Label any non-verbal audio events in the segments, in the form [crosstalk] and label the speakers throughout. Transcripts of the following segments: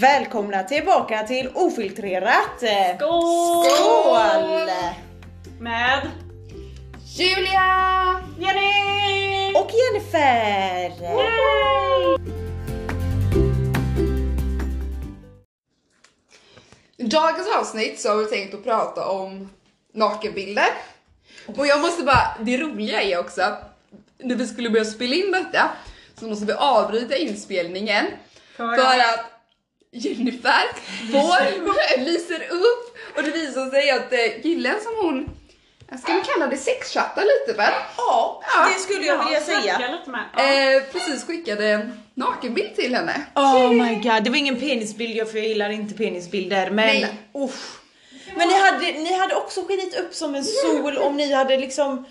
Speaker 1: Välkomna tillbaka till Ofiltrerat!
Speaker 2: Skål!
Speaker 1: Skål!
Speaker 2: Med
Speaker 3: Julia!
Speaker 2: Jenny!
Speaker 1: Och Jennifer!
Speaker 3: I dagens avsnitt så har vi tänkt att prata om nakenbilder. Och jag måste bara, det roliga är också att när vi skulle börja spela in detta så måste vi avbryta inspelningen
Speaker 2: För
Speaker 3: för att Jennifer får, [laughs] lyser upp och det visar sig att eh, killen som hon, ska vi kalla det sexchatta lite väl?
Speaker 1: Ja, det skulle jag vilja säga.
Speaker 2: Lite med. Ja.
Speaker 3: Eh, precis skickade en nakenbild till henne.
Speaker 1: Oh my god, det var ingen penisbild jag för jag gillar inte penisbilder men
Speaker 3: Nej.
Speaker 1: usch. Men ni hade, ni hade också skinit upp som en sol om ni hade liksom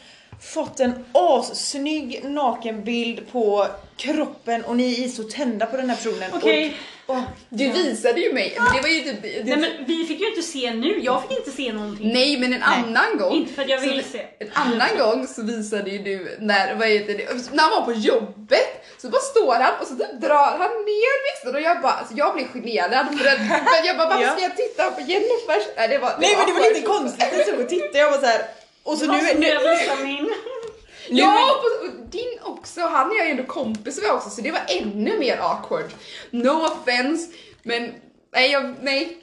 Speaker 1: fått en assnygg nakenbild på kroppen och ni är så tända på den här personen.
Speaker 2: Okej,
Speaker 1: Och, och,
Speaker 3: Du visade ju mig, det var ju typ... det-
Speaker 2: nej men vi fick ju inte se nu, jag fick inte se någonting.
Speaker 3: Nej men en annan gång.
Speaker 2: Inte för att jag
Speaker 3: så-
Speaker 2: ville se.
Speaker 3: En annan gång så visade ju du när, vad heter det, när han var på jobbet så bara står han och så typ drar han ner byxorna och jag bara, alltså jag blev generad för att, för att jag bara varför
Speaker 1: Ja.
Speaker 3: ska jag titta på Jennifers? Nej, det var,
Speaker 1: Nej men det var
Speaker 3: för-
Speaker 1: lite konstigt, jag stod och tittade jag var såhär och så nu,
Speaker 2: Alltså,
Speaker 1: nu,
Speaker 2: jag visar min.
Speaker 3: Ja, och, och din också, han är jag ju ändå kompis med också så det var ännu mer awkward. No offense men nej, jag, nej.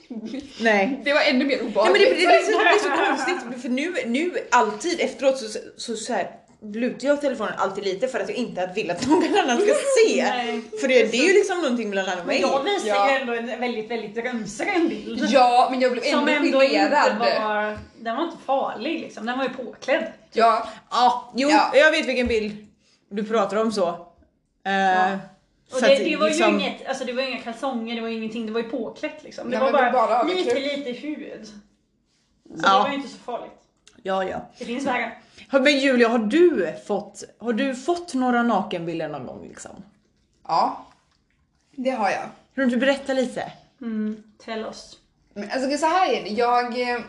Speaker 1: Nej.
Speaker 3: Det var ännu mer
Speaker 1: Nej men
Speaker 3: obehagligt.
Speaker 1: det, det, det, det, är så konstigt för nu, nu alltid efteråt så, så, så här, lutar jag telefonen alltid lite för att jag inte vill att någon annan ska se.
Speaker 2: Mm, Nej.
Speaker 1: För det, det är ju liksom någonting mellan han och mig.
Speaker 2: Jag visar
Speaker 3: Ja.
Speaker 2: ju ändå en väldigt, väldigt römsren bild.
Speaker 3: Ja men jag blev
Speaker 2: Som
Speaker 3: ändå,
Speaker 2: ändå inte
Speaker 3: generad.
Speaker 2: var, den var inte farlig liksom, den var ju påklädd.
Speaker 3: Ja,
Speaker 1: Ja, jo,
Speaker 3: Ja.
Speaker 1: jag vet vilken bild du pratar om så. Eh,
Speaker 2: Och
Speaker 1: så
Speaker 2: det,
Speaker 1: att
Speaker 2: det var
Speaker 1: liksom-
Speaker 2: ju inget, alltså det var ju inga kalsonger, det var ju ingenting, det var ju påklätt liksom. Det
Speaker 3: Nej,
Speaker 2: var
Speaker 3: men det
Speaker 2: bara,
Speaker 3: var bara
Speaker 2: lite,
Speaker 3: överklädd.
Speaker 2: lite hud. Så det
Speaker 1: Ja.
Speaker 2: var ju inte så farligt.
Speaker 1: Ja, ja.
Speaker 2: Det finns vägar.
Speaker 1: Har- Men Julia, har du fått, har du fått några nakenbilder någon gång liksom?
Speaker 3: Ja, det har jag.
Speaker 1: Kan du inte berätta lite?
Speaker 2: Mm, tell oss.
Speaker 3: Men alltså så här är det, jag... eh,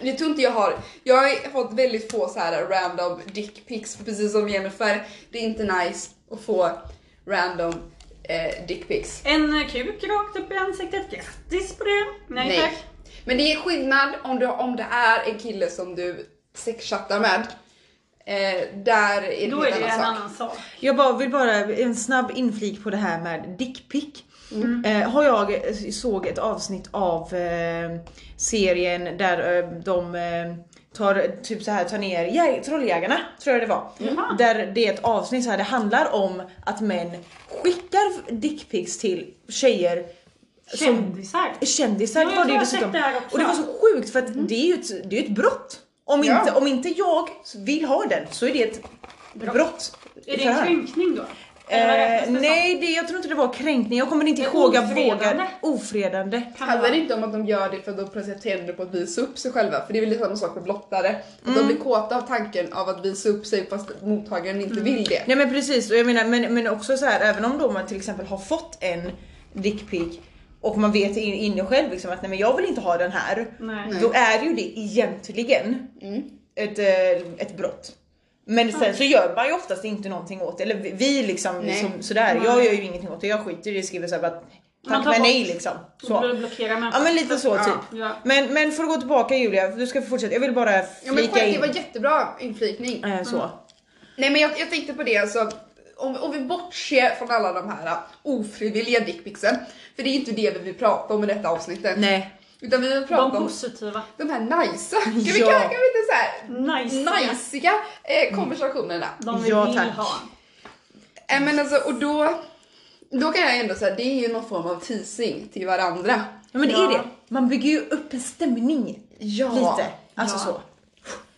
Speaker 3: Jag tror inte jag har... Jag har fått väldigt få så här random dick pics, precis som Jennifer. Det är inte nice att få random eh, dick pics.
Speaker 2: En eh, kuk rakt upp i ansiktet, grattis på det! Nej,
Speaker 3: Nej.
Speaker 2: tack!
Speaker 3: Men det är skillnad om, du, om det är en kille som du sexchattar med. Eh, där är det,
Speaker 2: Då är
Speaker 3: helt
Speaker 2: det en
Speaker 3: annan sak.
Speaker 2: annan sak.
Speaker 1: Jag bara, vill bara en snabb inflik på det här med dickpick.
Speaker 2: Mm.
Speaker 1: Eh, har jag eh, såg ett avsnitt av eh, serien där eh, de eh, tar typ så här tar ner jäg- trolljägarna tror jag det var.
Speaker 2: Jaha.
Speaker 1: Där det är ett avsnitt så här det handlar om att män skickar dickpics till tjejer som
Speaker 2: Kändisar!
Speaker 1: kändisar
Speaker 2: Ja, jag
Speaker 1: var det
Speaker 2: tror
Speaker 1: ju
Speaker 2: jag har sett
Speaker 1: dessutom.
Speaker 2: det här också. Mm.
Speaker 1: och det var så sjukt för att det är ju ett, det är ju ett brott. Om
Speaker 3: Ja.
Speaker 1: inte, om inte jag vill ha den så är det ett brott.
Speaker 2: Brott. Är det en
Speaker 1: Förhör.
Speaker 2: kränkning då? Eller vad
Speaker 1: Eh,
Speaker 2: räknas det som?
Speaker 1: nej, det, jag tror inte det var kränkning. Jag kommer inte
Speaker 2: Men
Speaker 1: ihåg. Jag
Speaker 2: ofredande?
Speaker 1: vågar. Ofredande.
Speaker 2: Kan det
Speaker 3: Handlar det
Speaker 2: vara?
Speaker 3: inte om att de gör det för att de presenterar det på att visa upp sig själva? För det är väl lite samma sak med blottare. Att de blir kåta av tanken av att visa upp sig fast mottagaren inte vill det.
Speaker 1: Nej men precis, och jag menar, men, men också så här, även om då man till exempel har fått en dickpic och man vet in- inne själv liksom att nej men jag vill inte ha den här.
Speaker 2: Nej.
Speaker 1: Då är ju det egentligen
Speaker 3: Mm.
Speaker 1: ett, eh, ett brott. Men sen så gör man ju oftast inte någonting åt det. Eller vi- vi liksom
Speaker 3: Nej.
Speaker 1: som, sådär, jag gör ju ingenting åt det. Jag skiter i det, skriver såhär bara
Speaker 2: Man
Speaker 1: tack
Speaker 2: tar
Speaker 1: men
Speaker 2: bort.
Speaker 1: nej liksom.
Speaker 2: Så.
Speaker 1: Så.
Speaker 2: Då blockerar man.
Speaker 1: Ja men lite så
Speaker 3: Ja.
Speaker 1: typ.
Speaker 2: Ja.
Speaker 1: Men, men för att gå tillbaka Julia, du ska få fortsätta. Jag vill bara
Speaker 3: Ja, men
Speaker 1: flika
Speaker 3: själv, det
Speaker 1: in.
Speaker 3: var jättebra inflikning.
Speaker 1: Eh, så.
Speaker 3: Nej men jag, jag tänkte på det alltså. Om, om vi bortser från alla de här ah, ofrivilliga dickpicsen. För det är inte det vi vill prata om i detta avsnittet.
Speaker 1: Nej.
Speaker 3: Utan vi vill
Speaker 2: De
Speaker 3: prata om
Speaker 2: positiva.
Speaker 3: de här najsa. Kan, vi-
Speaker 1: Ja.
Speaker 3: kan, kan vi inte såhär
Speaker 2: Nice.
Speaker 3: najsiga eh, konversationerna?
Speaker 2: De vi
Speaker 1: Ja,
Speaker 2: vill
Speaker 1: tack.
Speaker 2: ha.
Speaker 3: Nej men alltså och då, då kan jag ändå säga det är ju någon form av teasing till varandra.
Speaker 1: Ja men det
Speaker 2: Ja.
Speaker 1: är det. Man bygger ju upp en stämning.
Speaker 3: Ja.
Speaker 1: Lite. Alltså
Speaker 2: Ja.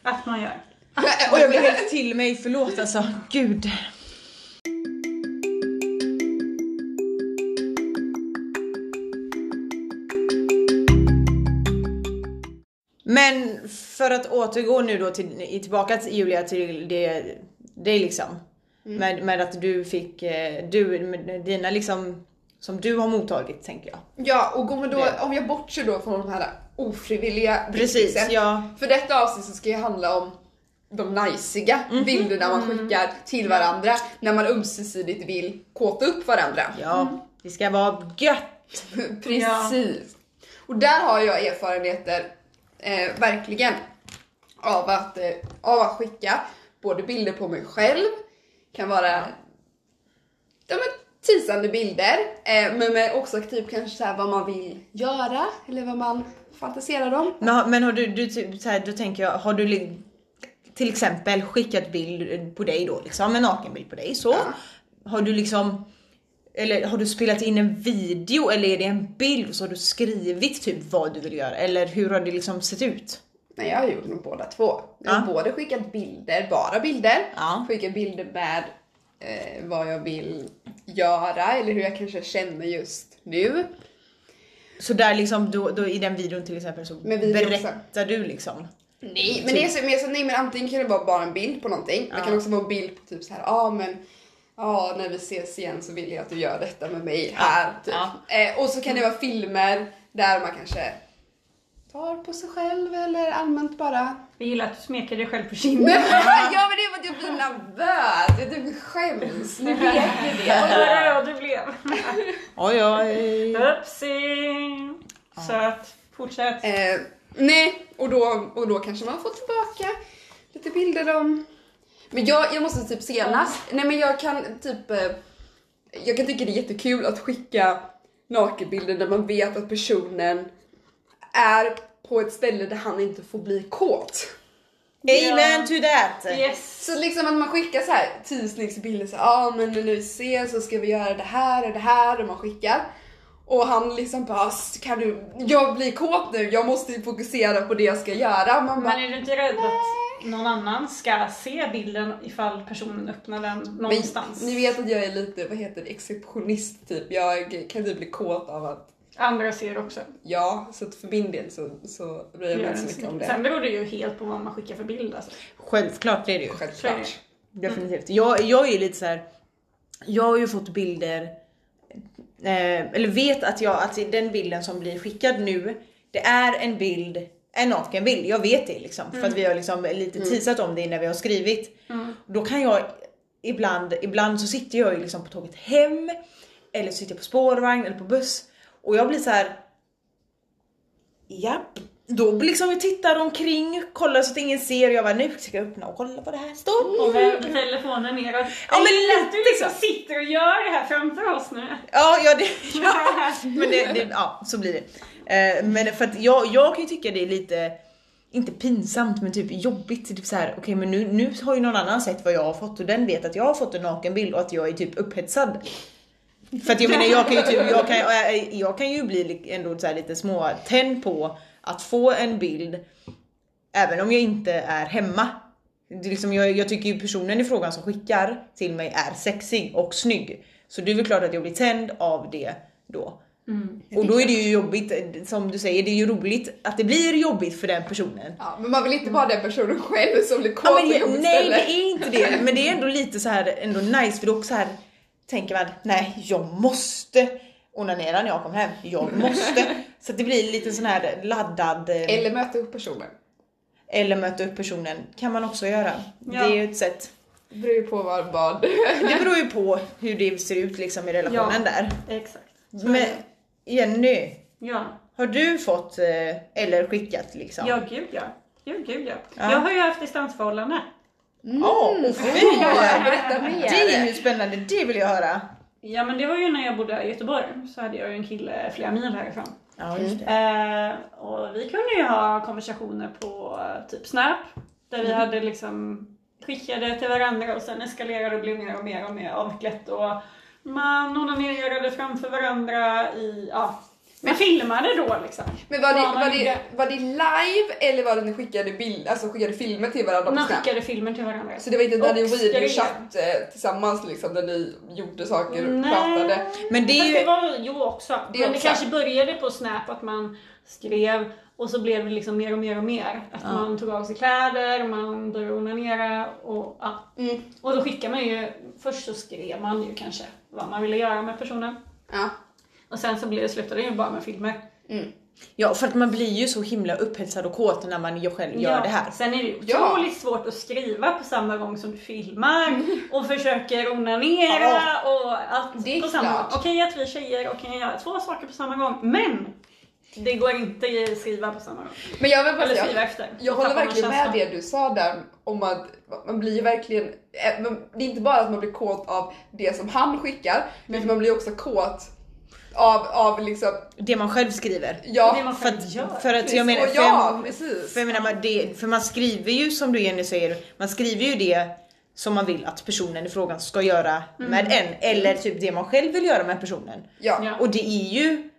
Speaker 1: så.
Speaker 2: Att man gör.
Speaker 3: [laughs]
Speaker 1: Och jag blev helt till mig, förlåt alltså. Gud. Men för att återgå nu då till, i- tillbaka till Julia till det, det liksom. Med, med att du fick, eh, du, med dina liksom, som du har mottagit tänker jag.
Speaker 3: Ja och om, då,
Speaker 1: Det.
Speaker 3: om jag bortser då från de här ofrivilliga
Speaker 1: Precis,
Speaker 3: bitchsen.
Speaker 1: ja.
Speaker 3: För detta avsnitt så ska ju handla om de najsiga
Speaker 1: Mhm.
Speaker 3: bilderna man
Speaker 1: Mm.
Speaker 3: skickar till varandra när man ömsesidigt vill kåta upp varandra.
Speaker 1: Ja, det ska vara gött.
Speaker 3: Precis. Och där har jag erfarenheter, eh, verkligen, av att, eh, av att skicka både bilder på mig själv, kan vara ja, men, teasande bilder, eh, men med också typ kanske så här vad man vill göra eller vad man fantiserar om.
Speaker 1: Men, men har du, du typ så här, då tänker jag, har du li- till exempel skickat bild på dig då liksom, en nakenbild på dig så. Har du liksom, eller har du spelat in en video eller är det en bild och så har du skrivit typ vad du vill göra eller hur har det liksom sett ut?
Speaker 3: Nej, jag har gjort med båda två. Jag har
Speaker 1: Ja.
Speaker 3: både skickat bilder, bara bilder.
Speaker 1: Ja.
Speaker 3: Skickat bilder med eh, vad jag vill göra eller hur jag kanske känner just nu.
Speaker 1: Så där liksom, då, då i den videon till exempel så
Speaker 3: Med videon också.
Speaker 1: berättar du liksom.
Speaker 3: Nej, men det är så, men jag sa, nej men antingen kan det vara bara en bild på någonting. Det kan också vara en bild på typ så här, ja ah, men ja när vi ses igen så vill jag att du gör detta med mig här. Typ. Eh, och så kan det vara filmer där man kanske tar på sig själv eller allmänt bara
Speaker 2: Jag gillar att du smeker dig själv på kinden.
Speaker 3: Men, [laughs] ja men det är för att jag blir nervös, jag typ skäms. Ni vet
Speaker 2: [laughs]
Speaker 3: ju det.
Speaker 2: Oj, vad röd du blev.
Speaker 1: Oj, oj.
Speaker 2: Upsi. Söt. Fortsätt.
Speaker 3: Eh, nej, och då, och då kanske man får tillbaka lite bilder om... Men jag, jag måste typ senast... Nej men jag kan typ... Eh, jag kan tycka det är jättekul att skicka nakenbilder där man vet att personen är på ett ställe där han inte får bli kåt.
Speaker 1: Amen to that!
Speaker 2: Yes.
Speaker 3: Så liksom att man skickar så här teasningsbilder så ja ah, men när vi ses så ska vi göra det här och det här och man skickar. Och han liksom bara, "S- kan du, jag blir kåt nu, jag måste ju fokusera på det jag ska göra. Man bara,
Speaker 2: Men är du inte rädd att någon annan ska se bilden ifall personen öppnar den
Speaker 3: Men
Speaker 2: någonstans?
Speaker 3: ni vet att jag är lite, vad heter det, exceptionist typ. Jag kan typ bli kåt av att,
Speaker 2: Andra ser också.
Speaker 3: ja, så att för min del så, så bryr jag mig inte så mycket om det.
Speaker 2: Sen beror det ju helt på vad man skickar för bild alltså.
Speaker 1: Självklart är det ju.
Speaker 3: Självklart.
Speaker 1: Definitivt. Jag, jag är lite så här. Jag har ju fått bilder, eh, eller vet att, jag, att den bilden som blir skickad nu, det är en bild, en nakenbild. Jag vet det liksom. För att vi har liksom lite teasat om det innan vi har skrivit. Då kan jag ibland, ibland så sitter jag ju liksom på tåget hem, eller sitter jag på spårvagn eller på buss. Och jag blir så här. Japp. Då liksom vi tittar omkring, kollar så att ingen ser och jag bara nu ska jag öppna och kolla vad det här står.
Speaker 2: Och med telefonen neråt.
Speaker 1: Ja, men
Speaker 2: Jag gillar att
Speaker 1: lite
Speaker 2: du liksom
Speaker 1: så.
Speaker 2: sitter och gör det här framför oss nu.
Speaker 1: Ja, ja, det,
Speaker 2: [laughs]
Speaker 1: ja. Men det, det, ja så blir det. Eh, men för att jag, jag kan ju tycka det är lite, inte pinsamt men typ jobbigt. Typ så här, okej men nu, nu har ju någon annan sett vad jag har fått och den vet att jag har fått en nakenbild och att jag är typ upphetsad. För att jag menar jag kan ju, typ, jag kan, jag- jag kan ju bli li- ändå så här lite små tänd på att få en bild även om jag inte är hemma. Det är liksom, jag, jag tycker ju personen i frågan som skickar till mig är sexig och snygg. Så det är väl klart att jag blir tänd av det då. Och då är det ju jobbigt, som du säger, det är ju roligt att det blir jobbigt för den personen.
Speaker 3: Ja, men man vill inte vara den personen själv som blir kåt
Speaker 1: Ja, men,
Speaker 3: på
Speaker 1: det-
Speaker 3: jobbigt
Speaker 1: nej
Speaker 3: ställe.
Speaker 1: det är inte det, men det är ändå lite så här ändå nice för då så här tänker man nej jag måste onanera när jag kommer hem. Jag [laughs] måste. Så att det blir lite sån här laddad eh,
Speaker 3: Eller möta upp personen.
Speaker 1: eller möta upp personen kan man också göra. Det
Speaker 2: Ja.
Speaker 1: är ju ett sätt.
Speaker 3: Det beror ju på vad, vad.
Speaker 1: Det beror ju på hur det ser ut liksom i relationen
Speaker 2: Ja.
Speaker 1: där.
Speaker 2: Exakt.
Speaker 1: Men Jenny,
Speaker 2: Ja.
Speaker 1: har du fått eh, eller skickat liksom?
Speaker 2: Ja, gud ja. Gud, gud ja.
Speaker 1: Ja.
Speaker 2: Jag har ju haft distansförhållande.
Speaker 1: Åh, och fy!
Speaker 3: Mm. Åh, Berätta
Speaker 1: Det är
Speaker 3: mer.
Speaker 1: ju spännande, det vill jag höra.
Speaker 2: Ja men det var ju när jag bodde i Göteborg så hade jag ju en kille flera mil härifrån.
Speaker 1: Ja, just det.
Speaker 2: Eh, och vi kunde ju ha konversationer på eh, typ Snap där
Speaker 3: Mm.
Speaker 2: vi hade liksom skickade till varandra och sen eskalerade och blev mer och mer och mer avklätt och man onanerade framför varandra i, ja, man filmade då liksom.
Speaker 3: Men var det,
Speaker 2: Ja, man
Speaker 3: var, det,
Speaker 2: gjorde-
Speaker 3: var det live eller var det ni skickade, bild, alltså skickade filmer till varandra på
Speaker 2: Man
Speaker 3: Snap?
Speaker 2: skickade filmer till varandra.
Speaker 3: Så det var inte när ni
Speaker 2: Och
Speaker 3: videochatt eh, tillsammans liksom, när ni gjorde saker och
Speaker 2: Nej.
Speaker 3: pratade?
Speaker 1: Men det är
Speaker 2: Fast
Speaker 1: ju...
Speaker 2: det var ju också.
Speaker 3: Det
Speaker 2: men det
Speaker 3: också.
Speaker 2: kanske började på Snap att man skrev och så blev det liksom mer och mer och mer. Att man tog av sig kläder, man började onanera och ja.
Speaker 3: Mm.
Speaker 2: Och då skickade man ju, först så skrev man ju kanske vad man ville göra med personen.
Speaker 3: Ja.
Speaker 2: Och sen så blev det, slutade det ju bara med filmer.
Speaker 3: Mm.
Speaker 1: Ja, för att man blir ju så himla upphetsad och kåt när man ju själv gör det här.
Speaker 2: Sen är det ju
Speaker 3: Ja.
Speaker 2: otroligt svårt att skriva på samma gång som du filmar
Speaker 1: Mm.
Speaker 2: och försöker onanera och allt
Speaker 3: Det är
Speaker 2: på samma
Speaker 3: klart.
Speaker 2: gång. Okej att vi tjejer och kan göra två saker på samma gång, men det går inte att skriva på samma gång.
Speaker 3: Men jag vill bara
Speaker 2: Eller
Speaker 3: säga,
Speaker 2: skriva efter.
Speaker 3: Jag
Speaker 2: Då
Speaker 3: håller
Speaker 2: tappar man
Speaker 3: verkligen med
Speaker 2: känslan.
Speaker 3: det du sa där om att man blir ju verkligen, eh, man- det är inte bara att man blir kåt av det som han skickar,
Speaker 2: Mm.
Speaker 3: utan man blir också kåt av, av liksom,
Speaker 1: Det man själv skriver.
Speaker 2: Det
Speaker 3: ja,
Speaker 2: man
Speaker 1: För
Speaker 2: själv gör.
Speaker 1: att, för att jag menar,
Speaker 3: och
Speaker 1: för,
Speaker 3: ja
Speaker 1: jag,
Speaker 3: precis.
Speaker 1: för jag menar man, det, för man skriver ju som du Jenny säger, man skriver ju det som man vill att personen i frågan ska göra
Speaker 2: Mm.
Speaker 1: med en. Eller typ det man själv vill göra med personen.
Speaker 3: Ja.
Speaker 2: Ja.
Speaker 1: Och det är ju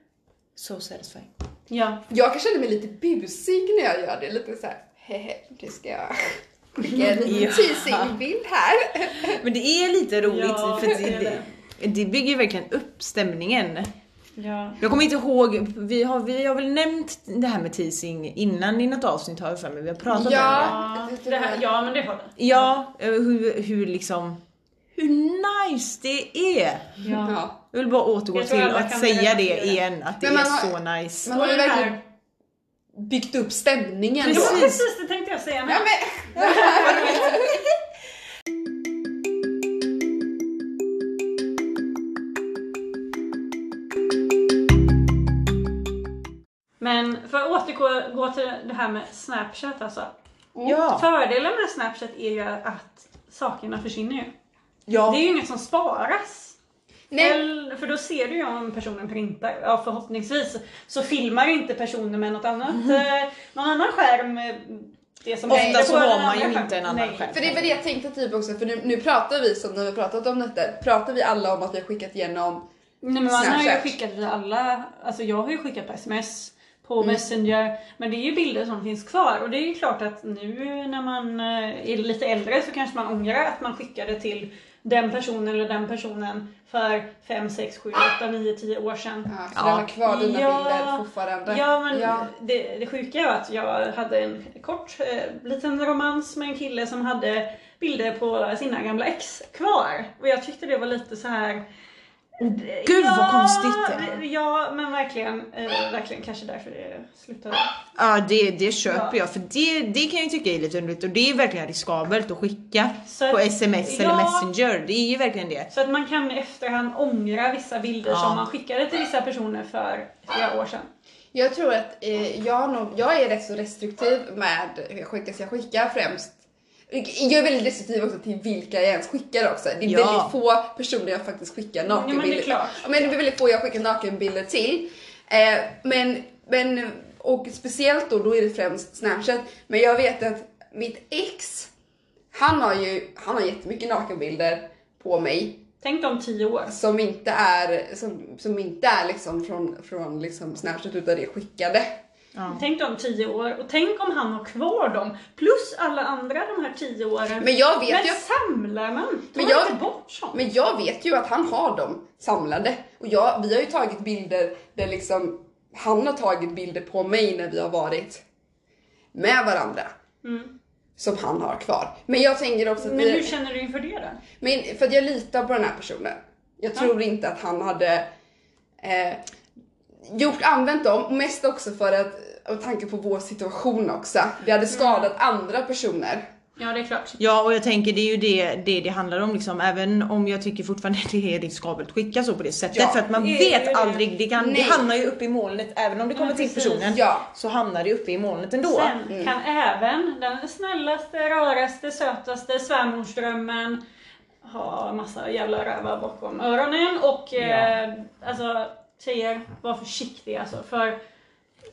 Speaker 1: så satisfying.
Speaker 2: ja.
Speaker 3: Jag kan känna mig lite busig när jag gör det, lite såhär hehe, nu ska jag skicka en
Speaker 1: Ja.
Speaker 3: teasing bild här.
Speaker 1: Men det är lite roligt
Speaker 2: Ja,
Speaker 1: för
Speaker 2: det
Speaker 1: att
Speaker 2: är
Speaker 1: det, det, bygger ju verkligen upp stämningen.
Speaker 2: ja.
Speaker 1: Jag kommer inte ihåg, vi har, vi har väl nämnt det här med teasing innan i något avsnitt har jag för mig, vi har pratat om det.
Speaker 3: Ja, det tror
Speaker 2: Det här,
Speaker 3: jag.
Speaker 2: ja men det har det.
Speaker 1: Ja, eh, hur, hur liksom, hur nice det är!
Speaker 2: Ja.
Speaker 3: Ja.
Speaker 1: Jag vill bara återgå
Speaker 2: Jag tror
Speaker 1: till
Speaker 2: alla
Speaker 1: att
Speaker 2: kan
Speaker 1: säga
Speaker 2: relatera.
Speaker 1: det igen, att det
Speaker 3: Men man
Speaker 1: är
Speaker 3: har-
Speaker 1: så nice.
Speaker 3: Man har ju
Speaker 2: Och den här-
Speaker 3: verkligen byggt upp stämningen.
Speaker 2: Ja,
Speaker 1: Precis.
Speaker 2: precis, det tänkte jag säga med.
Speaker 3: Ja, men,
Speaker 2: Men för att återgå till det här med Snapchat alltså.
Speaker 1: Ja,
Speaker 2: Fördelen med Snapchat är ju att sakerna försvinner ju. Det är
Speaker 1: ja,
Speaker 2: ju inget som sparas.
Speaker 3: nej,
Speaker 2: Eller- För då ser du ju om personen printar. Ja, förhoppningsvis så filmar inte personen med något annat, eh, någon annan skärm. eh, Det som
Speaker 1: Mhm. Ofta
Speaker 2: händer
Speaker 1: så
Speaker 2: på
Speaker 1: har
Speaker 2: den
Speaker 1: man
Speaker 2: andra
Speaker 1: ju inte
Speaker 2: skärmen.
Speaker 1: en annan skärm.
Speaker 3: för det är väl det jag tänkte typ också, för nu, nu pratar vi som när vi pratat om detta, pratar vi alla om att vi har skickat igenom
Speaker 2: Nej, men man har ju
Speaker 3: Snapchat.
Speaker 2: skickat via alla, alltså jag har ju skickat på sms, på
Speaker 1: Mm.
Speaker 2: messenger, men det är ju bilder som finns kvar och det är ju klart att nu när man eh, är lite äldre så kanske man ångrar att man skickade till den personen eller den personen för 5, 6, 7, 8, 9, 10 år sedan.
Speaker 3: Ja, så
Speaker 1: Ja.
Speaker 3: den har kvar dina
Speaker 2: Ja.
Speaker 3: bilder fortfarande.
Speaker 2: Ja men
Speaker 3: Ja.
Speaker 2: Det, det sjuka var att jag hade en kort eh, liten romans med en kille som hade bilder på sina gamla ex kvar. Och jag tyckte det var lite så här.
Speaker 1: Oh, gud, vad konstigt.
Speaker 2: det- Ja men verkligen, eh, verkligen kanske därför det slutade.
Speaker 1: ja det, det köper
Speaker 2: Ja.
Speaker 1: jag för det, det kan jag ju tycka är lite underligt och det är verkligen riskabelt att skicka
Speaker 2: Så,
Speaker 1: på sms eller
Speaker 2: Ja.
Speaker 1: messenger, det är ju verkligen det.
Speaker 2: så att man kan i efterhand ångra vissa bilder
Speaker 1: Ja.
Speaker 2: som man skickade till vissa personer för flera år sedan.
Speaker 3: Jag tror att eh, jag, nog, jag är rätt så restriktiv med hur jag skickar, så jag skickar främst jag är väldigt restriktiv också till vilka jag ens skickar också. Det är
Speaker 1: Ja.
Speaker 3: väldigt få personer jag faktiskt skickar
Speaker 2: Ja, men det är
Speaker 3: nakenbilder
Speaker 2: klart.
Speaker 3: Ja, men det är väldigt få jag skickar nakenbilder till. Eh, men, men, och speciellt då, då är det främst Snapchat. Men jag vet att mitt ex, han har ju han har jättemycket nakenbilder på mig
Speaker 2: Tänk om tio år.
Speaker 3: som inte är, som, som inte är liksom från, från liksom Snapchat utan är skickade.
Speaker 1: Ja.
Speaker 2: Tänk om tio år och tänk om han har kvar dem plus alla andra de här tio åren.
Speaker 3: Men jag vet
Speaker 2: men
Speaker 3: ju-
Speaker 2: samlar man? Tar
Speaker 3: Men
Speaker 2: men
Speaker 3: jag-
Speaker 2: jag... inte bort sånt?
Speaker 3: Men jag vet ju att han har dem samlade och jag, vi har ju tagit bilder där liksom han har tagit bilder på mig när vi har varit med varandra
Speaker 2: Mm.
Speaker 3: som han har kvar. Men jag tänker också att
Speaker 2: Men hur
Speaker 3: vi,
Speaker 2: känner du inför det då?
Speaker 3: men för att jag litar på den här personen. Jag tror inte att han hade eh, gjort, använt dem, mest också för att av tanke på vår situation också. Det hade
Speaker 2: Mm.
Speaker 3: skadat andra personer.
Speaker 2: Ja, det är klart.
Speaker 1: Ja och jag tänker det är ju det det, det handlar om liksom även om jag tycker fortfarande [laughs] det är riskabelt att skicka så på det sättet
Speaker 3: Ja,
Speaker 1: för att man
Speaker 2: det är ju
Speaker 1: vet
Speaker 2: det.
Speaker 1: aldrig, det, kan, det
Speaker 3: Nej.
Speaker 1: hamnar ju uppe i molnet även om det kommer till
Speaker 2: precis.
Speaker 1: personen
Speaker 3: Ja.
Speaker 1: så hamnar det uppe i molnet ändå.
Speaker 2: Sen kan även den snällaste, röraste, sötaste svärmorsdrömmen ha massa jävla rövar bakom öronen och eh, alltså tjejer, var försiktiga alltså för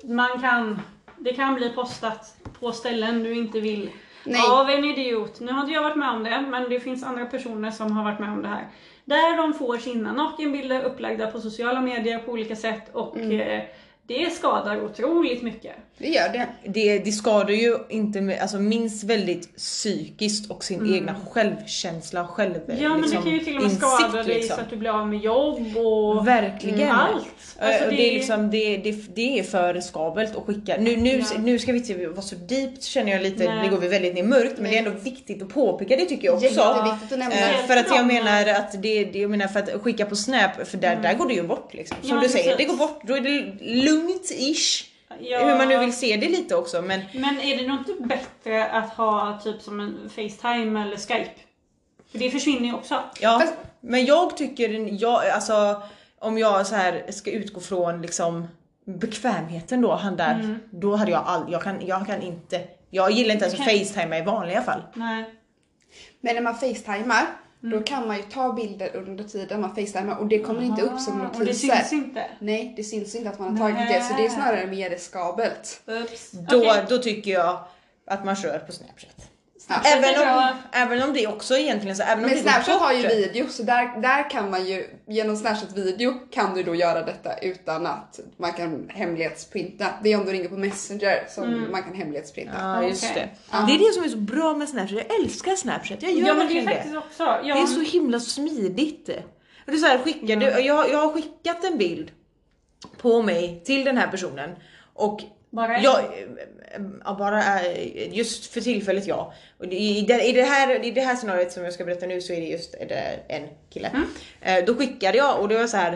Speaker 2: man kan, det kan bli postat på ställen du inte vill
Speaker 3: Nej.
Speaker 2: av en idiot. Nu har inte jag varit med om det men det finns andra personer som har varit med om det här. Där de får sina nakenbilder upplagda på sociala medier på olika sätt och eh, det skadar otroligt mycket.
Speaker 3: Det gör det.
Speaker 1: det, det skadar ju inte med, alltså minst väldigt psykiskt och sin egna självkänsla och själv,
Speaker 2: Mm. Ja men
Speaker 1: liksom,
Speaker 2: det kan ju till och med
Speaker 1: insikt,
Speaker 2: skada dig
Speaker 1: liksom.
Speaker 2: så att du blir av med jobb och
Speaker 1: Verkligen.
Speaker 2: allt.
Speaker 1: Eh,
Speaker 2: Alltså,
Speaker 1: och det,
Speaker 2: det
Speaker 1: är
Speaker 2: är-
Speaker 1: liksom, det, det, det är för riskabelt att skicka. Nu, nu,
Speaker 2: Ja.
Speaker 1: nu ska vi inte vara så djupt känner jag lite,
Speaker 2: Nej.
Speaker 1: nu går vi väldigt ner i mörkt men
Speaker 3: Nej.
Speaker 1: det är ändå viktigt att påpeka det tycker jag också.
Speaker 3: Jätteviktigt att nämna.
Speaker 1: Eh,
Speaker 2: Speciellt
Speaker 1: för att
Speaker 2: för
Speaker 1: jag
Speaker 2: dem.
Speaker 1: menar att det, det jag menar för att skicka på snap, för där, där går det ju bort liksom. Som
Speaker 2: Mm. Ja,
Speaker 1: du säger, det
Speaker 2: precis.
Speaker 1: går bort. Då är det lugnt-ish.
Speaker 2: Ja.
Speaker 1: Hur man nu vill se det lite också men
Speaker 2: Men är det nog inte bättre att ha typ som en Facetime eller Skype? För det försvinner ju också.
Speaker 1: ja.
Speaker 3: Fast-
Speaker 1: Men jag tycker, jag, alltså om jag så här ska utgå från liksom bekvämheten då, han där.
Speaker 2: Mm.
Speaker 1: Då hade jag all, jag kan, jag kan inte, jag gillar inte ens att
Speaker 2: Okej.
Speaker 1: facetima i vanliga fall.
Speaker 2: Nej.
Speaker 3: Men när man facetimar,
Speaker 1: Mm.
Speaker 3: då kan man ju ta bilder under tiden man facetimar och det kommer inte upp som
Speaker 2: Och det
Speaker 3: notiser.
Speaker 2: syns inte.
Speaker 3: Nej, det syns inte att man har tagit det så det är snarare mer riskabelt.
Speaker 2: Oops.
Speaker 1: Då,
Speaker 2: Okej.
Speaker 1: då tycker jag att man kör på snapchat.
Speaker 3: Ja.
Speaker 2: Snapchat
Speaker 1: Även
Speaker 2: är
Speaker 1: om,
Speaker 2: bra.
Speaker 1: även om det också egentligen så, även om
Speaker 3: Men
Speaker 1: det går
Speaker 3: Snapchat har ju
Speaker 1: bort.
Speaker 3: video så där, där kan man ju, genom Snapchat video kan du då göra detta utan att man kan hemlighetsprinta. Det är om du ringer på Messenger som
Speaker 1: Mm.
Speaker 3: man kan hemlighetsprinta.
Speaker 1: Ja just
Speaker 2: Okej.
Speaker 1: det. Det är det som är så bra med Snapchat, jag älskar Snapchat. Jag gör
Speaker 2: Ja men det
Speaker 1: verkligen
Speaker 2: är
Speaker 1: det.
Speaker 2: faktiskt också. Ja.
Speaker 1: Det är så himla smidigt. Och Det är så här, skicka, du, jag, jag har skickat en bild på mig till den här personen och
Speaker 2: Bara en?
Speaker 1: jag, ja, bara eh, just för tillfället ja. Och det- I, i, det- i, det här, I det här scenariot som jag ska berätta nu så är det just eh, det- en kille.
Speaker 2: Mm.
Speaker 1: Eh, Då skickade jag och det var så här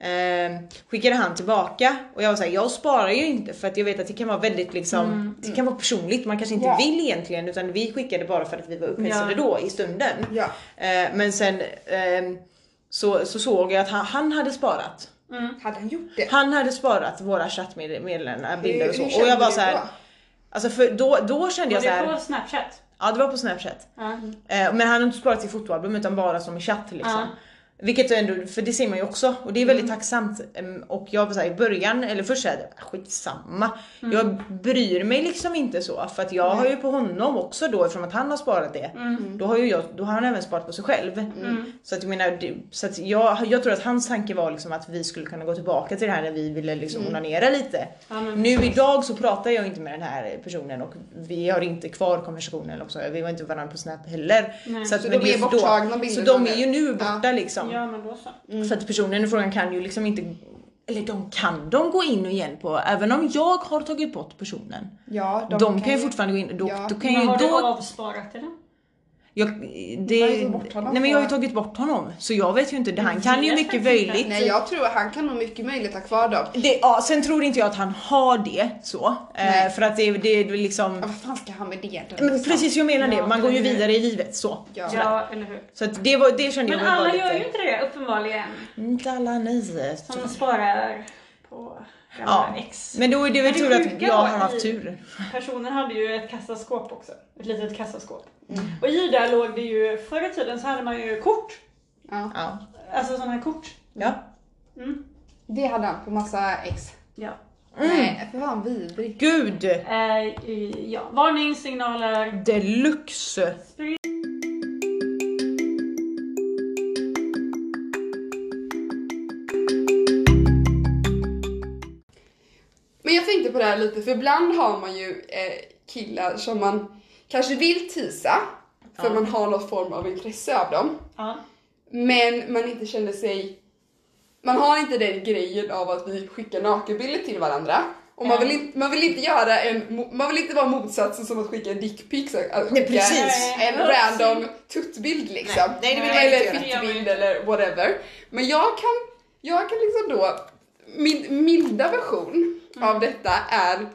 Speaker 1: eh, skickade han tillbaka och jag var såhär, jag sparar ju inte för att jag vet att det kan vara väldigt liksom,
Speaker 2: Mm.
Speaker 1: det kan vara personligt, man kanske inte
Speaker 3: Ja.
Speaker 1: vill egentligen utan vi skickade bara för att vi var upphetsade
Speaker 2: Ja.
Speaker 1: då i stunden.
Speaker 3: Ja.
Speaker 1: Eh, Men sen ehm, så, så såg jag att han, han hade sparat.
Speaker 3: Hade han gjort det?
Speaker 1: Han hade sparat våra chattmeddelanden, bilder och så.
Speaker 3: kände
Speaker 1: Och jag bara
Speaker 3: du
Speaker 1: så här,
Speaker 3: då?
Speaker 1: alltså för då, då kände
Speaker 2: Och
Speaker 1: jag så
Speaker 2: det är
Speaker 1: här,
Speaker 2: på Snapchat.
Speaker 1: ja det var på snapchat.
Speaker 2: Ja. mm.
Speaker 1: Eh, Men han hade inte sparat till fotoalbum utan bara som i chatt liksom.
Speaker 2: Ja.
Speaker 1: Vilket ändå, för det ser man ju också och det är väldigt tacksamt. Em, Och jag var så här, i början, eller först såhär, skitsamma. Jag bryr mig liksom inte så för att jag har ju på honom också då eftersom att han har sparat det. Då har ju jag, då har han även sparat på sig själv. Så att jag menar, det- så att jag, jag tror att hans tanke var liksom att vi skulle kunna gå tillbaka till det här när vi ville liksom onanera lite.
Speaker 2: Ja, men
Speaker 1: nu idag så pratar jag inte med den här personen och vi har inte kvar konversationen också. Vi var inte varandra på snap heller.
Speaker 2: Nej.
Speaker 1: Så, att,
Speaker 3: Så
Speaker 1: men
Speaker 3: de
Speaker 1: det
Speaker 3: är
Speaker 1: för
Speaker 3: borttagna
Speaker 1: då, Så
Speaker 3: bilderna
Speaker 1: de
Speaker 3: nu.
Speaker 1: är ju nu borta liksom.
Speaker 2: Ja men då så.
Speaker 1: Så att personen i frågan kan ju liksom inte eller de kan de gå in och igen på, även om jag har tagit bort personen.
Speaker 3: Ja,
Speaker 1: De, kan, ju fortfarande gå in, då,
Speaker 3: Ja.
Speaker 1: då kan
Speaker 2: Men
Speaker 1: ju
Speaker 2: har
Speaker 1: då...
Speaker 2: du avsparat eller?
Speaker 1: Jag,
Speaker 3: har
Speaker 1: det,
Speaker 3: ju tagit bort honom
Speaker 1: nej men jag har ju
Speaker 3: för-
Speaker 1: tagit bort honom så jag vet ju inte, det, han kan ju
Speaker 2: vet
Speaker 1: mycket
Speaker 2: faktiskt inte.
Speaker 1: möjligt.
Speaker 3: Nej, jag tror att han kan nog mycket möjligt ha kvar dem.
Speaker 1: Det, ja, sen tror inte jag att han har det så. Eh,
Speaker 3: Nej.
Speaker 1: för att det, det är liksom...
Speaker 3: Ja, vad fan ska han med det då?
Speaker 1: Men precis jag menar det,
Speaker 2: Ja,
Speaker 1: man går ju
Speaker 2: eller hur?
Speaker 1: vidare i livet så.
Speaker 3: Ja.
Speaker 1: Sådär.
Speaker 2: Ja eller hur.
Speaker 1: Så att det, var, det kände
Speaker 2: Men
Speaker 1: jag var
Speaker 2: alla
Speaker 1: lite...
Speaker 2: gör ju inte det uppenbarligen.
Speaker 1: Inte alla nej.
Speaker 2: Som
Speaker 3: Typ.
Speaker 2: sparar på gamla
Speaker 1: Ja.
Speaker 2: ex.
Speaker 1: Men då är det väl
Speaker 2: Men det
Speaker 1: tur att
Speaker 2: sjuka
Speaker 1: jag
Speaker 2: var
Speaker 1: har
Speaker 2: i-
Speaker 1: haft tur.
Speaker 2: Personen hade ju ett kassaskåp också. Ett litet kassaskåp.
Speaker 3: Mm.
Speaker 2: Och i där låg det ju, förr i tiden så hade man ju kort.
Speaker 3: Ja.
Speaker 1: Ja.
Speaker 2: Alltså sådana här kort.
Speaker 1: ja.
Speaker 2: Mm.
Speaker 3: Det hade han på massa ex.
Speaker 2: Ja.
Speaker 1: Mm.
Speaker 3: Nej, för fan vidrig.
Speaker 1: Gud!
Speaker 2: Eh, i- ja. Varningssignaler.
Speaker 1: Deluxe!
Speaker 2: Spring.
Speaker 3: Men jag tänkte på det här lite, för ibland har man ju eh, killar som man kanske vill tisa för man har någon form av intresse av dem.
Speaker 2: Ja.
Speaker 3: Men man inte känner sig... Man har inte den grejen av att vi skickar nakenbilder till varandra. Och man vill, inte, man vill inte göra en... mo- Man vill inte vara motsatsen som att skicka en dickpic. så- Att skicka
Speaker 1: precis.
Speaker 3: en random tuttbild liksom.
Speaker 1: Nej, det vill man inte
Speaker 3: eller
Speaker 1: göra.
Speaker 3: fittbild eller whatever. Men jag kan, jag kan liksom då... Min milda version
Speaker 1: Mm.
Speaker 3: av detta är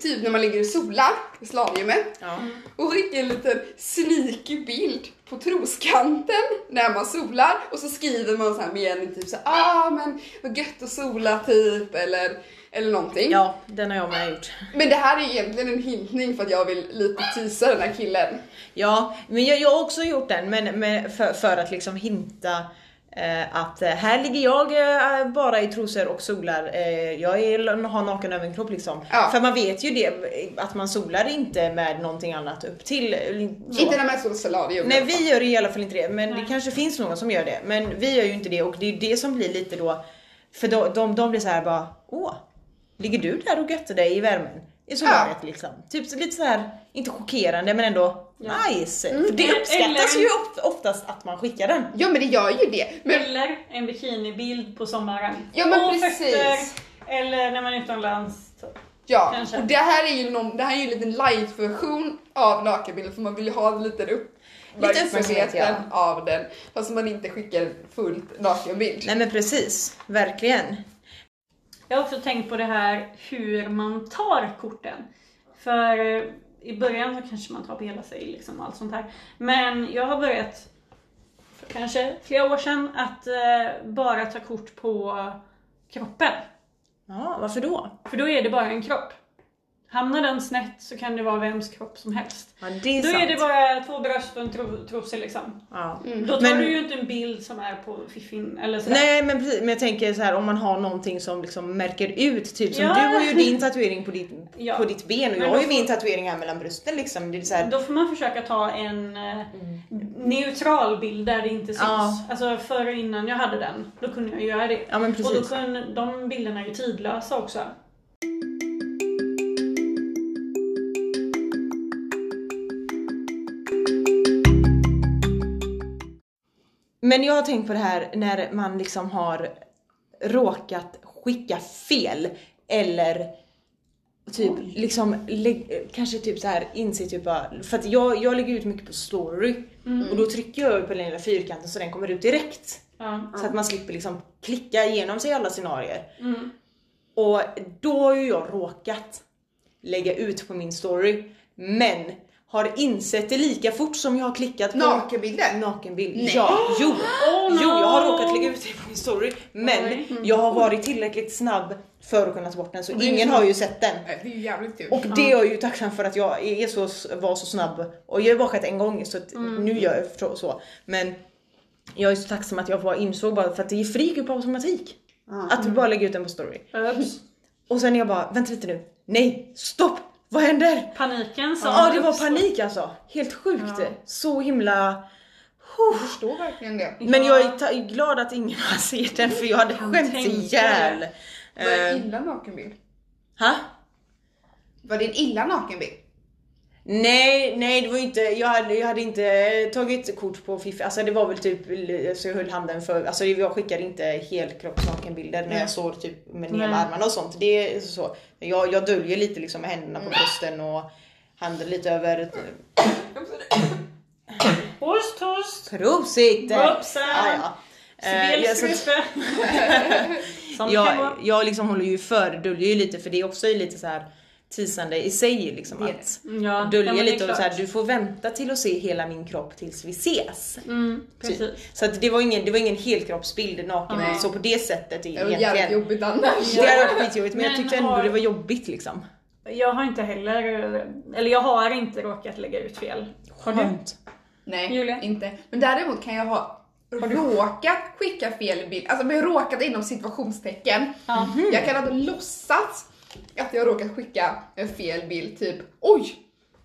Speaker 3: typ när man ligger och solar i slalgymmet
Speaker 1: Ja.
Speaker 3: och skickar en liten sneaky bild på troskanten när man solar och så skriver man så här med en typ så här, ah men vad gött att sola typ eller, eller någonting.
Speaker 1: ja, den har jag med gjort.
Speaker 3: Men det här är egentligen en hintning för att jag vill lite teasa den här killen.
Speaker 1: Ja, men jag, jag har också gjort den men, men för, för att liksom hinta eh, att eh, här ligger jag eh, bara i trosor och solar. Eh, jag är, har naken överkropp liksom.
Speaker 3: Ja.
Speaker 1: För man vet ju det, eh, att man solar inte med någonting annat upp till. eh, så.
Speaker 3: Inte när man står i solarium.
Speaker 1: Nej vi gör i alla fall inte det, men det kanske finns någon som gör det. Men vi gör ju inte det och det är det som blir lite då, för de, de, de blir så här bara, åh, ligger du där och götter dig i värmen? I solariet liksom. Typ så lite så här, inte chockerande men ändå
Speaker 2: Ja. Mm.
Speaker 1: nice. För det uppskattas
Speaker 2: Eller-
Speaker 1: ju oft, oftast att man skickar den.
Speaker 3: Ja men det gör ju det. Men
Speaker 2: Eller en bikinibild på sommaren.
Speaker 3: Ja, men
Speaker 2: och
Speaker 3: precis.
Speaker 2: fötter. Eller när man är utomlands. typ.
Speaker 3: Ja,
Speaker 2: Kanske.
Speaker 3: och det här är ju, någon, det här är ju en liten light-version av nakenbilden för man vill ju ha en liten
Speaker 1: uppmärksamhet,
Speaker 3: uppmärksamheten
Speaker 1: ja.
Speaker 3: av den. Fast man inte skickar en fullt nakenbild.
Speaker 1: Nej men precis, verkligen.
Speaker 2: Jag har också tänkt på det här hur man tar korten. För eh, i början så kanske man tar på hela sig liksom och allt sånt här. Men jag har börjat, för kanske flera år sedan, att eh, bara ta kort på kroppen.
Speaker 1: Ja, varför då?
Speaker 2: För då är det bara en kropp. Hamnar den snett så kan det vara vems kropp som helst.
Speaker 1: Ja, det är
Speaker 2: Då
Speaker 1: sant.
Speaker 2: är det bara två bröst och en tro, trosor liksom.
Speaker 1: ja.
Speaker 2: Då tar
Speaker 1: Men-
Speaker 2: du ju inte en bild som är på fiffin eller sådär.
Speaker 1: Nej men precis, men jag tänker så här om man har någonting som liksom märker ut, typ som
Speaker 2: Ja.
Speaker 1: du har ju din tatuering på ditt,
Speaker 2: Ja.
Speaker 1: på ditt ben och
Speaker 2: Men
Speaker 1: jag
Speaker 2: då
Speaker 1: har ju
Speaker 2: får-
Speaker 1: min tatuering här mellan brösten liksom. Det är så här,
Speaker 2: Då får man försöka ta en eh, neutral bild där det inte syns.
Speaker 1: Mm. Ja.
Speaker 2: Alltså förr och innan jag hade den, då kunde jag göra det.
Speaker 1: ja men
Speaker 2: och då
Speaker 1: precis.
Speaker 2: kunde, de bilderna är ju tidlösa också.
Speaker 1: Men jag har tänkt på det här när man liksom har råkat skicka fel eller typ liksom lä- kanske typ så här inse typ bara, för att jag, jag lägger ut mycket på story
Speaker 2: Mm.
Speaker 1: och då trycker jag på den lilla fyrkanten så den kommer ut direkt.
Speaker 2: Ja.
Speaker 1: Så att man slipper liksom klicka igenom sig alla scenarier.
Speaker 2: Mm.
Speaker 1: Och då har ju jag råkat lägga ut på min story. Men har insett det lika fort som jag har klickat på
Speaker 3: Nakenbilder?
Speaker 1: nakenbild.
Speaker 3: Nej.
Speaker 1: Ja, jo.
Speaker 2: Oh, no.
Speaker 1: jo, jag har råkat lägga ut det på min story. Men Mm.
Speaker 2: Oj.
Speaker 1: jag har varit tillräckligt snabb för att kunna ta bort den så
Speaker 3: Det är
Speaker 1: ingen
Speaker 3: så-
Speaker 1: har ju sett den.
Speaker 3: Nej, Det är ju jävligt kul.
Speaker 1: Och det är jag ju tacksam för att jag är så, var så snabb. Och jag har ju bara skett en gång så att
Speaker 3: Mm.
Speaker 1: nu gör jag förstå- så. Men jag är så tacksam att jag var insåg bara för att det flyger på automatik. Att
Speaker 3: Mm.
Speaker 1: du bara lägger ut den på story.
Speaker 2: Ups.
Speaker 1: Och sen är jag bara, vänta lite nu. Nej, stopp! Vad händer?
Speaker 2: Paniken som
Speaker 1: Ja, det var
Speaker 2: uppstod.
Speaker 1: panik alltså. Helt sjukt. Så himla...
Speaker 3: Jag förstår verkligen det.
Speaker 1: Men jag är ta- glad att ingen har sett den för jag hade skämt
Speaker 2: tänker
Speaker 1: ihjäl.
Speaker 3: Var det
Speaker 1: Eh,
Speaker 3: en illa nakenbild?
Speaker 1: ha?
Speaker 3: Var det en illa nakenbild?
Speaker 1: Nej, nej det var ju inte, jag hade, jag hade inte tagit kort på Fiffi. Alltså det var väl typ så jag höll handen för, alltså jag skickade inte helkroppsnakenbilder när
Speaker 3: Nej.
Speaker 1: jag såg typ med
Speaker 2: Nej.
Speaker 1: ner med armarna och sånt. Det är så. Jag, jag döljer lite liksom med händerna på brösten och handen lite över
Speaker 2: Host, host.
Speaker 1: Prosit! Ah,
Speaker 2: Upsa.
Speaker 1: Ja, ja. Eh, jag, så, att-
Speaker 2: Svälsgruppe.
Speaker 1: [laughs]
Speaker 2: Som det kan
Speaker 1: jag,
Speaker 2: vara.
Speaker 1: jag liksom håller ju för, döljer ju lite för det är också lite så här teasande i sig liksom
Speaker 3: Det är
Speaker 1: att
Speaker 2: Mm, Ja,
Speaker 1: dölja
Speaker 2: ja, men det är
Speaker 1: lite och
Speaker 2: klart.
Speaker 1: så här, du får vänta till att se hela min kropp tills vi ses.
Speaker 2: Mm,
Speaker 1: Typ.
Speaker 2: precis.
Speaker 1: Så att det var ingen, det var ingen helkroppsbild naken
Speaker 2: Nej.
Speaker 1: så på det sättet
Speaker 3: Det var jävligt
Speaker 1: egentligen.
Speaker 3: jobbigt annars.
Speaker 1: Det hade varit skitjobbigt men, jag
Speaker 2: Men
Speaker 1: tyckte ändå
Speaker 2: har-
Speaker 1: det var jobbigt liksom.
Speaker 2: Jag har inte heller, eller jag har inte råkat lägga ut fel. Har du?
Speaker 1: Skönt. [laughs]
Speaker 3: Nej,
Speaker 2: Julia?
Speaker 3: inte. Men däremot kan jag ha råkat skicka fel bild, alltså med råkat inom situationstecken. Mm-hmm.
Speaker 2: Ja.
Speaker 3: Jag kan ha låtsats att jag råkat skicka en fel bild, typ oj,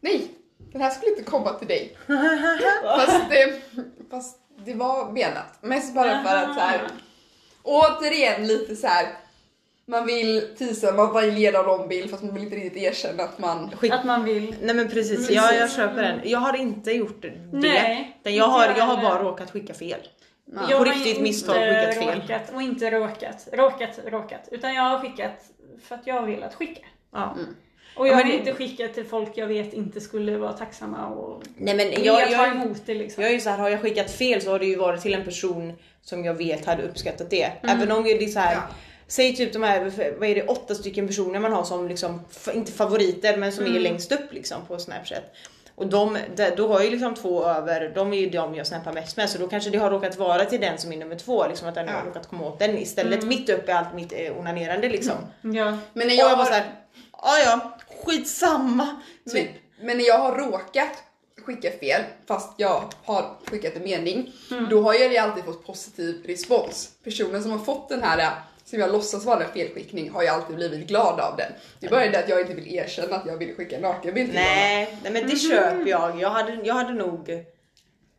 Speaker 3: nej, den här skulle inte komma till dig. fast, det, fast det var menat. Mest bara för att så här, återigen lite så här. Man vill teasa, man vill ge dem någon bild fast man vill inte riktigt erkänna att man...
Speaker 1: Skit.
Speaker 2: Att man vill.
Speaker 1: Nej men precis, jag, jag köper den. Jag har inte gjort det.
Speaker 2: Mm. Nej,
Speaker 1: Utan jag,
Speaker 2: inte
Speaker 1: har,
Speaker 2: jag
Speaker 1: jag har
Speaker 2: heller.
Speaker 1: bara råkat skicka fel.
Speaker 3: Ja.
Speaker 1: På
Speaker 2: har
Speaker 1: riktigt
Speaker 2: inte
Speaker 1: misstag skickat fel.
Speaker 2: Råkat, och inte råkat, råkat, råkat. Utan jag har skickat för att jag har velat skicka.
Speaker 1: Ja.
Speaker 2: Mm. Och jag
Speaker 1: Ja, men
Speaker 2: har
Speaker 1: det-
Speaker 2: inte skickat till folk jag vet inte skulle vara tacksamma och
Speaker 1: Nej men jag,
Speaker 2: vilja
Speaker 1: jag,
Speaker 2: ta emot det liksom.
Speaker 1: Jag är ju så här, har jag skickat fel så har det ju varit till en person som jag vet hade uppskattat det.
Speaker 3: Mm.
Speaker 1: Även om det är så här,
Speaker 3: Ja.
Speaker 1: säg typ de här, vad är det, åtta stycken personer man har som liksom, f- inte favoriter men som är
Speaker 3: Mm.
Speaker 1: längst upp liksom på snapchat. Och de, där- då har jag ju liksom två över, de är ju de jag snappar mest med så då kanske det har råkat vara till den som är nummer två, liksom att den har
Speaker 3: Ja.
Speaker 1: råkat komma åt den istället mitt uppe i allt mitt eh, onanerande liksom.
Speaker 2: Ja.
Speaker 3: Mm. Men när
Speaker 1: Och jag
Speaker 3: har-
Speaker 1: var såhär, ja ja, skitsamma. Typ.
Speaker 3: Men, men när jag har råkat skicka fel, fast jag har skickat en mening, då har jag ju alltid fått positiv respons. Personen som har fått den här, som jag låtsas vara en felskickning, har ju alltid blivit glad av den. Det är bara det att jag inte vill erkänna att jag vill skicka en nakenbild till honom.
Speaker 1: Nej, nej
Speaker 3: Mhm.
Speaker 1: men det köper jag. Jag hade, jag hade nog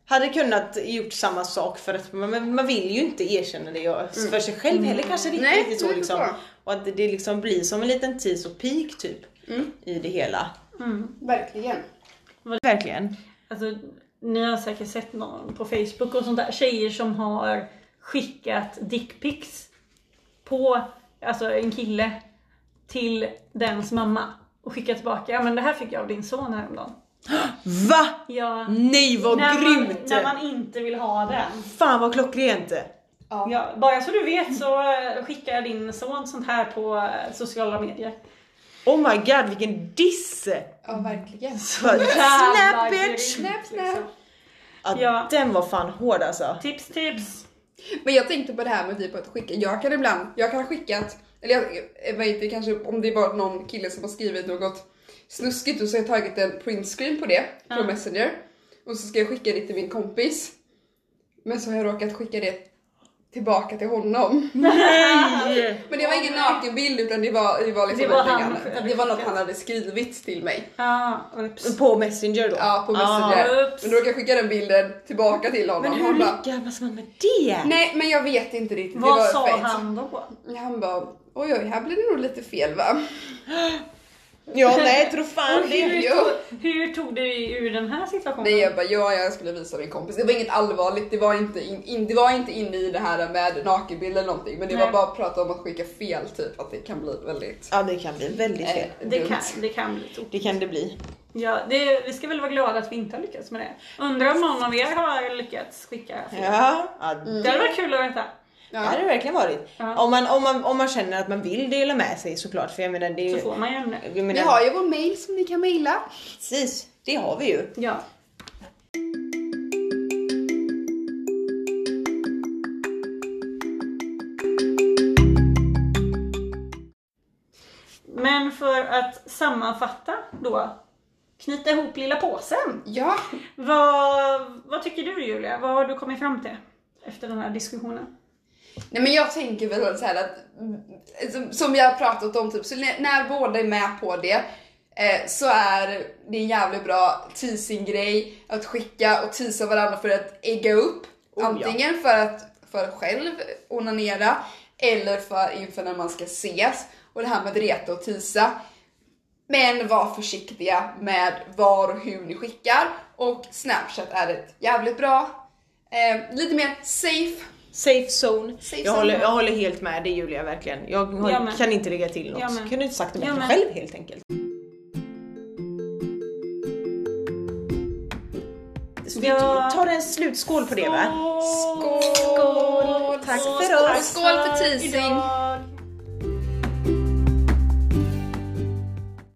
Speaker 1: hade kunnat gjort samma sak för att man, man vill ju inte erkänna det jag- för sig själv heller kanske riktigt,
Speaker 3: Mm. Nej,
Speaker 1: riktigt så
Speaker 3: det är
Speaker 1: liksom.
Speaker 3: bra.
Speaker 1: Och att det- det liksom blir som en liten tease och peak typ
Speaker 3: Mm.
Speaker 1: i det hela.
Speaker 3: Verkligen.
Speaker 1: Verkligen.
Speaker 2: Alltså, ni har säkert sett någon på Facebook och sånt där, tjejer som har skickat dickpics på, alltså en kille, till dens mamma och skickat tillbaka, ja men det här fick jag av din son häromdagen.
Speaker 1: Va?
Speaker 2: Ja,
Speaker 1: Nej Mm. vad
Speaker 2: när, man,
Speaker 1: grymt!
Speaker 2: när man inte vill ha den.
Speaker 1: Fan vad klockrent!
Speaker 3: Ja, Ja.
Speaker 2: Ja, bara så du vet så eh, skickar din son sånt här på eh, sociala medier.
Speaker 1: Oh my god vilken diss!
Speaker 3: Ja, verkligen.
Speaker 1: Bara,
Speaker 2: Jävla
Speaker 1: Snap bitch!
Speaker 2: grymt,
Speaker 3: Snap, snap.
Speaker 2: liksom.
Speaker 1: Ja,
Speaker 2: Ja.
Speaker 1: Den var fan hård alltså.
Speaker 2: Tips, tips!
Speaker 3: Men jag tänkte på det här med typ att skicka, jag kan ibland, jag kan ha skickat, eller jag, jag vet inte kanske om det var någon kille som har skrivit något snuskigt och så har jag tagit en printscreen på det på
Speaker 2: Ja.
Speaker 3: Messenger och så ska jag skicka det till min kompis. Men så har jag råkat skicka det tillbaka till honom.
Speaker 1: Nej!
Speaker 3: Men det var ingen nakenbild utan det var, det var liksom
Speaker 2: Det var han
Speaker 3: någonting annat.
Speaker 2: själv.
Speaker 3: det var något han hade skrivit till mig.
Speaker 2: Ja, ups.
Speaker 1: På Messenger då?
Speaker 3: Ja, på Messenger.
Speaker 2: Ah, ups.
Speaker 3: men då råkade jag skicka den bilden tillbaka till honom.
Speaker 1: Men hur
Speaker 3: han bara,
Speaker 1: lyckas man med det?
Speaker 3: Nej men jag vet inte riktigt. det
Speaker 2: Vad
Speaker 3: var
Speaker 2: sa
Speaker 3: fett.
Speaker 2: han då?
Speaker 3: Han bara oj oj här blir det nog lite fel va?
Speaker 1: Ja nej tro fan det.
Speaker 3: ju-
Speaker 2: Hur tog, hur tog du dig ur den här situationen?
Speaker 3: Nej jag bara ja jag skulle visa min kompis. Det var inget allvarligt, det var inte, in, in, det var inte inne i det här med nakenbild eller någonting men det
Speaker 2: Nej.
Speaker 3: var bara prat om att skicka fel typ att det kan bli väldigt
Speaker 1: Ja det kan bli väldigt fel.
Speaker 3: eh,
Speaker 2: det,
Speaker 3: dumt.
Speaker 2: kan, det kan bli tokigt.
Speaker 1: Det kan det bli.
Speaker 2: Ja, det, vi ska väl vara glada att vi inte har lyckats med det. Undrar om någon av er har lyckats skicka.
Speaker 1: Ja, ja
Speaker 2: Det hade varit kul att veta.
Speaker 1: det hade det verkligen varit.
Speaker 2: Ja.
Speaker 1: Om, man, om, man, om man känner att man vill dela med sig såklart för jag menar det är
Speaker 2: Så
Speaker 1: ju...
Speaker 2: får man ju ämne.
Speaker 1: Jag
Speaker 3: Vi
Speaker 1: menar,
Speaker 3: har ju vår mail som ni kan mejla.
Speaker 1: Precis, det har vi ju.
Speaker 2: Ja. Men för att sammanfatta då. Knyta ihop lilla påsen.
Speaker 3: Ja,
Speaker 2: Vad, vad tycker du Julia? Vad har du kommit fram till efter den här diskussionen?
Speaker 3: Nej men jag tänker väl så här att mm, som- som vi har pratat om typ, så när, när båda är med på det eh, så är det en jävligt bra teasing-grej att skicka och teasa varandra för att ägga upp.
Speaker 1: ja.
Speaker 3: antingen för att för själv onanera eller för inför när man ska ses. Och det här med att reta och teasa. Men var försiktiga med var och hur ni skickar och Snapchat är ett jävligt bra, eh, lite mer safe
Speaker 1: Safe zone.
Speaker 3: Safe
Speaker 1: jag,
Speaker 3: zone,
Speaker 1: håller,
Speaker 3: ja.
Speaker 1: jag håller helt med dig Julia verkligen. Jag, har,
Speaker 2: Jag med.
Speaker 1: kan inte lägga till något.
Speaker 2: Jag med.
Speaker 1: Kunde inte sagt det
Speaker 2: Jag
Speaker 1: bättre
Speaker 2: med.
Speaker 1: själv helt enkelt. Så vi
Speaker 2: Ja.
Speaker 1: tar en slutskål på det va?
Speaker 3: Skål!
Speaker 1: Tack för oss.
Speaker 3: Skål för teasing!
Speaker 2: Idag.